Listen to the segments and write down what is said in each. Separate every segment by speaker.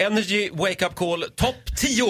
Speaker 1: Energy Wake Up Call topp 10.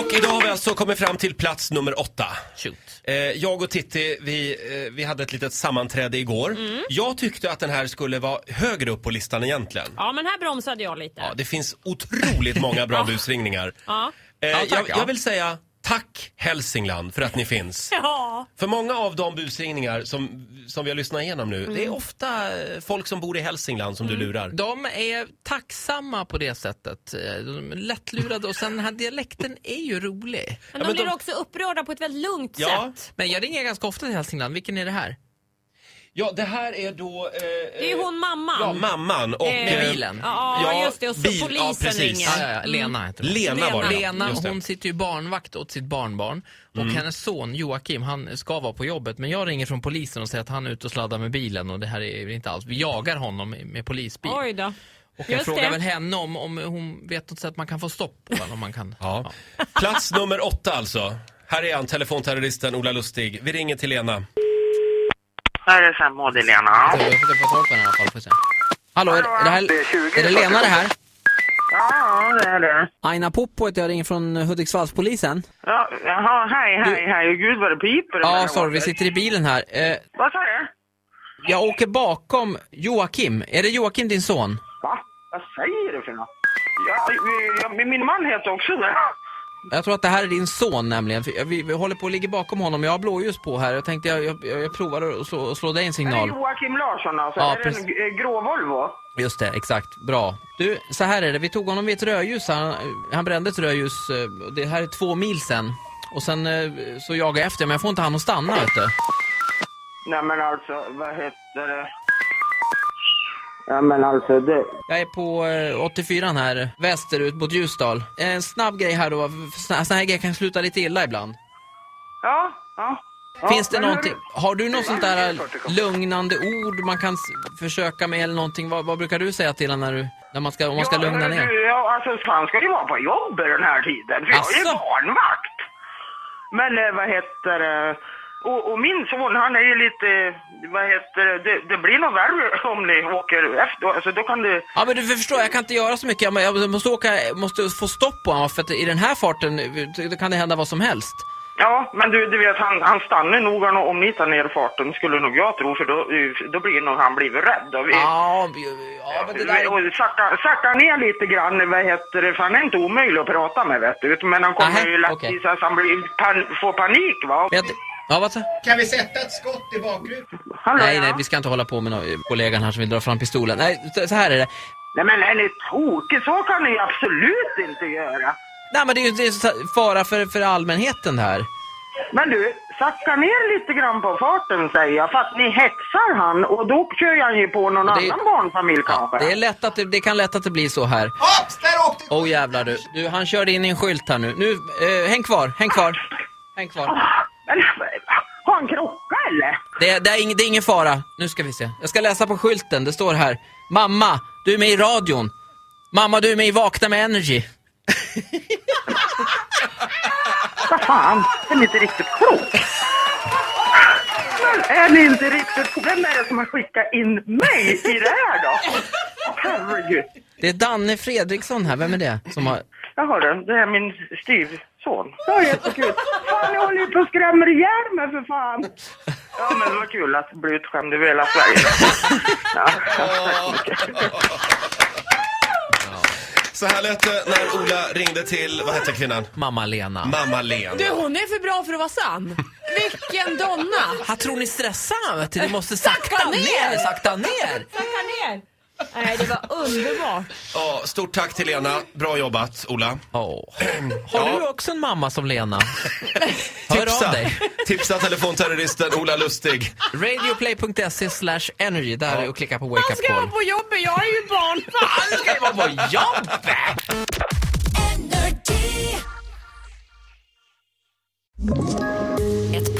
Speaker 1: Och idag har vi alltså kommit fram till plats nummer åtta.
Speaker 2: Shoot.
Speaker 1: Eh, jag och Titti, vi, eh, vi hade ett litet sammanträde igår.
Speaker 3: Mm.
Speaker 1: Jag tyckte att den här skulle vara högre upp på listan egentligen.
Speaker 3: Ja, men här bromsade jag lite.
Speaker 1: Ja, det finns otroligt många bra busringningar.
Speaker 3: Ja.
Speaker 1: Eh,
Speaker 2: tack,
Speaker 1: jag,
Speaker 2: ja.
Speaker 1: jag vill säga tack Hälsingland för att ni finns.
Speaker 3: Ja.
Speaker 1: För många av de busringningar som, som vi har lyssnat igenom nu, det är
Speaker 3: Mm.
Speaker 1: ofta eh, folk som bor i Hälsingland som du lurar.
Speaker 2: De är tacksamma på det sättet. Eh, De är lättlurade och sen den här dialekten är ju rolig.
Speaker 3: Men
Speaker 1: Ja,
Speaker 3: de
Speaker 1: men
Speaker 3: blir
Speaker 1: de-
Speaker 3: också upprörda på ett väldigt lugnt
Speaker 1: Ja.
Speaker 3: sätt.
Speaker 2: Men jag ringer ganska ofta till Hälsingland. Vilken är det här?
Speaker 1: Ja, det här är då... Eh,
Speaker 3: Det är ju hon mamman.
Speaker 1: Ja, mamman och...
Speaker 3: Eh,
Speaker 2: Med bilen.
Speaker 3: Ja,
Speaker 1: Ja,
Speaker 3: just det. Och så
Speaker 1: bil- ja,
Speaker 3: polisen
Speaker 1: precis.
Speaker 3: ringer. Mm.
Speaker 2: Ja, ja, ja. Lena heter hon.
Speaker 1: Lena var det.
Speaker 2: Lena,
Speaker 1: Just det.
Speaker 2: hon sitter ju barnvakt åt sitt barnbarn och hennes son Joakim, han ska vara på jobbet men jag ringer från polisen och säger att han är ute och sladdar med bilen och det här är inte alls, vi jagar honom med polisbil.
Speaker 3: Oj då.
Speaker 2: och jag
Speaker 3: just
Speaker 2: frågar
Speaker 3: det.
Speaker 2: väl henne om, om hon vet något sätt man kan få stopp på honom, om man kan.
Speaker 1: Ja. Plats nummer åtta alltså. Här är han, telefonterroristen Ola Lustig. Vi ringer till Lena.
Speaker 4: Här är samråd Lena.
Speaker 2: Jag får försöka få tag på henne i alla fall, får se. Hallå, är, är, det här, är det Lena det här?
Speaker 4: Ja, det är det.
Speaker 5: Aina Poppo heter jag, ringer från Hudiksvallspolisen.
Speaker 4: Ja, jaha, hej, hej, hej. Gud vad det piper.
Speaker 2: Ja, sorry, vi sitter i bilen här. Eh,
Speaker 4: Vad sa du?
Speaker 2: jag åker bakom Joakim. Är det Joakim, din son?
Speaker 4: Va? Vad säger du för något? Ja, vi- ja, min man heter också det.
Speaker 2: Jag tror att det här är din son nämligen. För jag- vi, vi håller på att ligga bakom honom. Jag har blåljus på här. Jag tänkte jag, jag, jag provar att slå, att slå dig en
Speaker 4: Det är
Speaker 2: signal.
Speaker 4: Joakim Larsson alltså.
Speaker 2: Ja,
Speaker 4: är det en
Speaker 2: precis.
Speaker 4: eh, grå Volvo?
Speaker 2: Just det, exakt. Bra. Du, så här är det. Vi tog honom vid ett rödljus. Han, han brände ett rödljus. eh, och Det här är två mil sen. Och sen eh, så jagade jag efter men jag får inte han att stanna vet du.
Speaker 4: Nej men alltså, vad heter det? Ja men alltså det...
Speaker 2: Jag är på eh, 84 här, västerut mot Ljusdal. En snabb grej här då. Sådana här grejer kan sluta lite illa ibland.
Speaker 4: Ja, ja. ja
Speaker 2: Finns det
Speaker 4: men hur-
Speaker 2: någonting, har du något sånt där lugnande ord man kan s- försöka med eller någonting? Vad, vad brukar du säga till honom när, du, när man ska, om man ska
Speaker 4: Ja,
Speaker 2: lugna
Speaker 4: men
Speaker 2: ner?
Speaker 4: du, Ja, alltså han ska ju vara på jobbet den här tiden, för jag är
Speaker 2: Asså?
Speaker 4: barnvakt. Men eh, vad heter det? Och, och min son, han är ju lite, eh, vad heter det, det, det blir nog värre om ni åker efter, alltså då kan du...
Speaker 2: Ja men du förstår, jag kan inte göra så mycket. Jag- Jag måste, åka, jag måste få stopp på honom för att i den här farten eh, då kan det hända vad som helst.
Speaker 4: Ja, men du, du vet, han, han stannar nog han- om ni tar ner farten, skulle nog jag tro, för då, eh, då blir nog han blivit rädd. Och vi,
Speaker 2: Ja, vi- ja men det där är...
Speaker 4: och sakta, sakta ner lite grann, vad heter det, för han är inte omöjlig att prata med vet du, men han kommer
Speaker 2: Nähä,
Speaker 4: ju lätt
Speaker 2: okej.
Speaker 4: okay. att han blir, pan, får panik va.
Speaker 2: Men jag, ja, vad sa-
Speaker 6: Kan vi sätta ett skott i bakrutan?
Speaker 4: Hallå,
Speaker 2: nej,
Speaker 4: ja.
Speaker 2: nej, vi ska inte hålla på med någon, eh, kollegan här som vill dra fram pistolen. Nej, så- så här är det.
Speaker 4: Nej men är ni tokig? Så kan ni absolut inte göra.
Speaker 2: Nej, men det är ju det är så här fara för, för allmänheten det här.
Speaker 4: Men du, sacka ner lite grann på farten säger jag, för att ni hetsar han och då kör han ju på någon
Speaker 2: Det är-
Speaker 4: annan barnfamilj kanske.
Speaker 2: Det, är lätt att det, det kan lätt att det blir så här.
Speaker 6: Hopps, där åkte
Speaker 2: Åh oh, jävlar du. du, han körde in i en skylt här nu. Nu, eh, häng kvar, häng kvar. Häng kvar.
Speaker 4: Men har han krockat eller?
Speaker 2: Det, det, är ing, det är ingen fara. Nu ska vi se. Jag ska läsa på skylten, det står här. Mamma, du är med i radion. Mamma, du är med i Vakna med Energy.
Speaker 4: Vad fan, är ni inte riktigt klok? Men är ni inte riktigt klok? Vem är det som har skickat in mig i det här då? Herregud.
Speaker 2: Det är Danne Fredriksson här, vem är det? Som har...
Speaker 4: Jaha du, det är min styvson. Det var jättekul. Fan, ni håller ju på och skrämmer ihjäl mig för fan. Ja, men det var kul att bli utskämd över hela Sverige. Ja.
Speaker 1: Så här lät det när Ola ringde till, vad hette kvinnan?
Speaker 2: Mamma Lena.
Speaker 1: Mamma Len.
Speaker 7: Du, hon är för bra för att vara sann. Vilken donna!
Speaker 2: Vad tror ni stressar han vet du? Ni måste sakta
Speaker 7: Sakta
Speaker 2: ner,
Speaker 7: ner!
Speaker 2: sakta ner.
Speaker 3: Tacka ner. Nej, det var underbart.
Speaker 1: Ja, stort tack till Lena. Bra jobbat, Ola.
Speaker 2: Åh. Har
Speaker 1: Ja.
Speaker 2: du också en mamma som Lena? Hör av dig.
Speaker 1: tipsa telefonterroristen Ola Lustig.
Speaker 2: Radioplay.se E slash energy, där är och klicka på wake
Speaker 7: Han
Speaker 2: up
Speaker 7: ska vara
Speaker 2: call.
Speaker 7: på jobbet, jag är ju barnvakt!
Speaker 2: Han ska ju vara på jobbet!
Speaker 8: Ett